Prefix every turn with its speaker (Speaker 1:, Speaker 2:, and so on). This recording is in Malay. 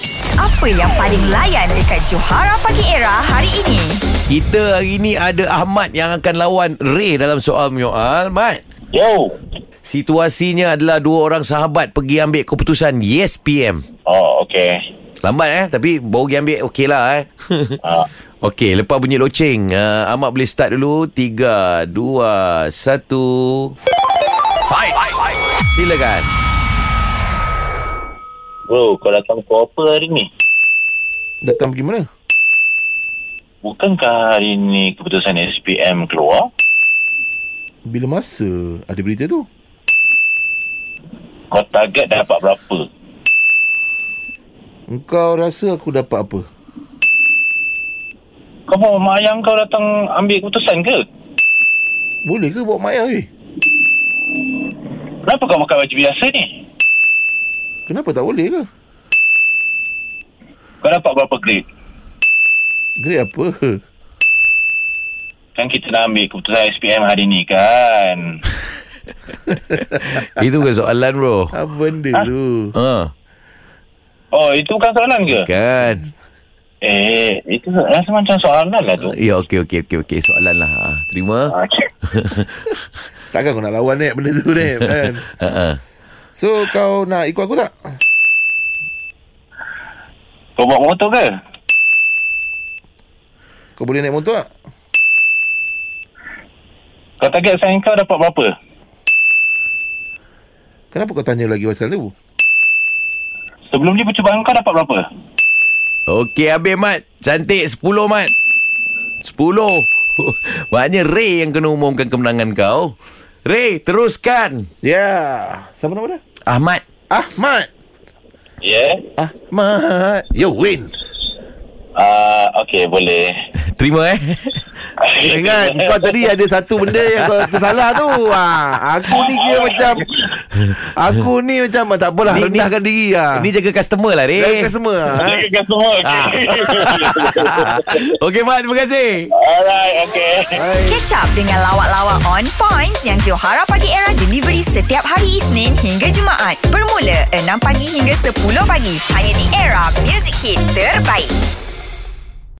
Speaker 1: Siapa yang paling layan dekat Johara Pagi Era hari ini?
Speaker 2: Kita hari ni ada Ahmad yang akan lawan Ray dalam soal menyoal. Mat,
Speaker 3: Yo.
Speaker 2: situasinya adalah dua orang sahabat pergi ambil keputusan yes PM.
Speaker 3: Oh, okey.
Speaker 2: Lambat eh, tapi baru pergi ambil okey lah eh.
Speaker 3: Ah,
Speaker 2: okey, lepas bunyi loceng. Uh, Ahmad boleh start dulu. Tiga, dua, satu. Fight! Silakan.
Speaker 3: bro, kau datang pukul apa hari ni?
Speaker 4: Datang pergi mana?
Speaker 3: Bukankah hari ni keputusan SPM keluar?
Speaker 4: Bila masa ada berita tu?
Speaker 3: Kau target dapat berapa?
Speaker 4: Engkau rasa aku dapat apa?
Speaker 3: Kau mau mak ayah kau datang ambil keputusan ke?
Speaker 4: Boleh ke bawa eh? mak ayah weh?
Speaker 3: Kenapa kau pakai baju biasa ni?
Speaker 4: Kenapa tak boleh ke?
Speaker 3: Kau dapat berapa grade?
Speaker 4: Grade apa?
Speaker 3: Kan kita nak ambil keputusan SPM hari ni kan?
Speaker 2: Itu ke soalan bro?
Speaker 4: Apa benda tu?
Speaker 2: Ha,
Speaker 3: Oh, itu bukan soalan ke?
Speaker 2: kan?
Speaker 3: Eh, itu rasa macam soalan lah tu. Ah,
Speaker 2: Ya, okey, okey, okey, okey. Soalan lah. Ha, terima.
Speaker 3: Okey.
Speaker 4: Takkan kau nak lawan Nep benda tu Nep kan?
Speaker 2: Ha, ha.
Speaker 4: So kau nak ikut aku tak?
Speaker 3: Kau bawa motor ke?
Speaker 4: Kau boleh naik motor tak?
Speaker 3: Kau target sains kau dapat berapa?
Speaker 4: Kenapa kau tanya lagi pasal tu?
Speaker 3: Sebelum ni percubaan kau dapat berapa?
Speaker 2: Okey habis Mat Cantik 10 Mat 10 Maknanya Ray yang kena umumkan kemenangan kau Ray teruskan Ah,
Speaker 4: Yeah. Ya! Siapa nama dia?
Speaker 2: Ahmad
Speaker 4: Ahmad.
Speaker 3: Ya. Yeah.
Speaker 4: Ahmad. You win.
Speaker 3: Ah, okey, boleh.
Speaker 2: Terima eh
Speaker 4: Ingat kau tadi ada satu benda yang kau tersalah tu. Ha, aku ni kira macam aku ni macam ah, tak apalah
Speaker 2: Ni- ni-
Speaker 4: rendahkan diri ah.
Speaker 2: Ni jaga customer lah Ray
Speaker 4: Jaga semua ah.
Speaker 3: Okay, guys semua. Okay.
Speaker 2: Okey Mat terima kasih
Speaker 3: Alright, okay.
Speaker 1: Catch up dengan lawak-lawak on points yang Johara Pagi Era delivery setiap hari Isnin hingga Jumaat. Bermula 6 pagi hingga 10 pagi. Hanya di Era Music Hit Terbaik.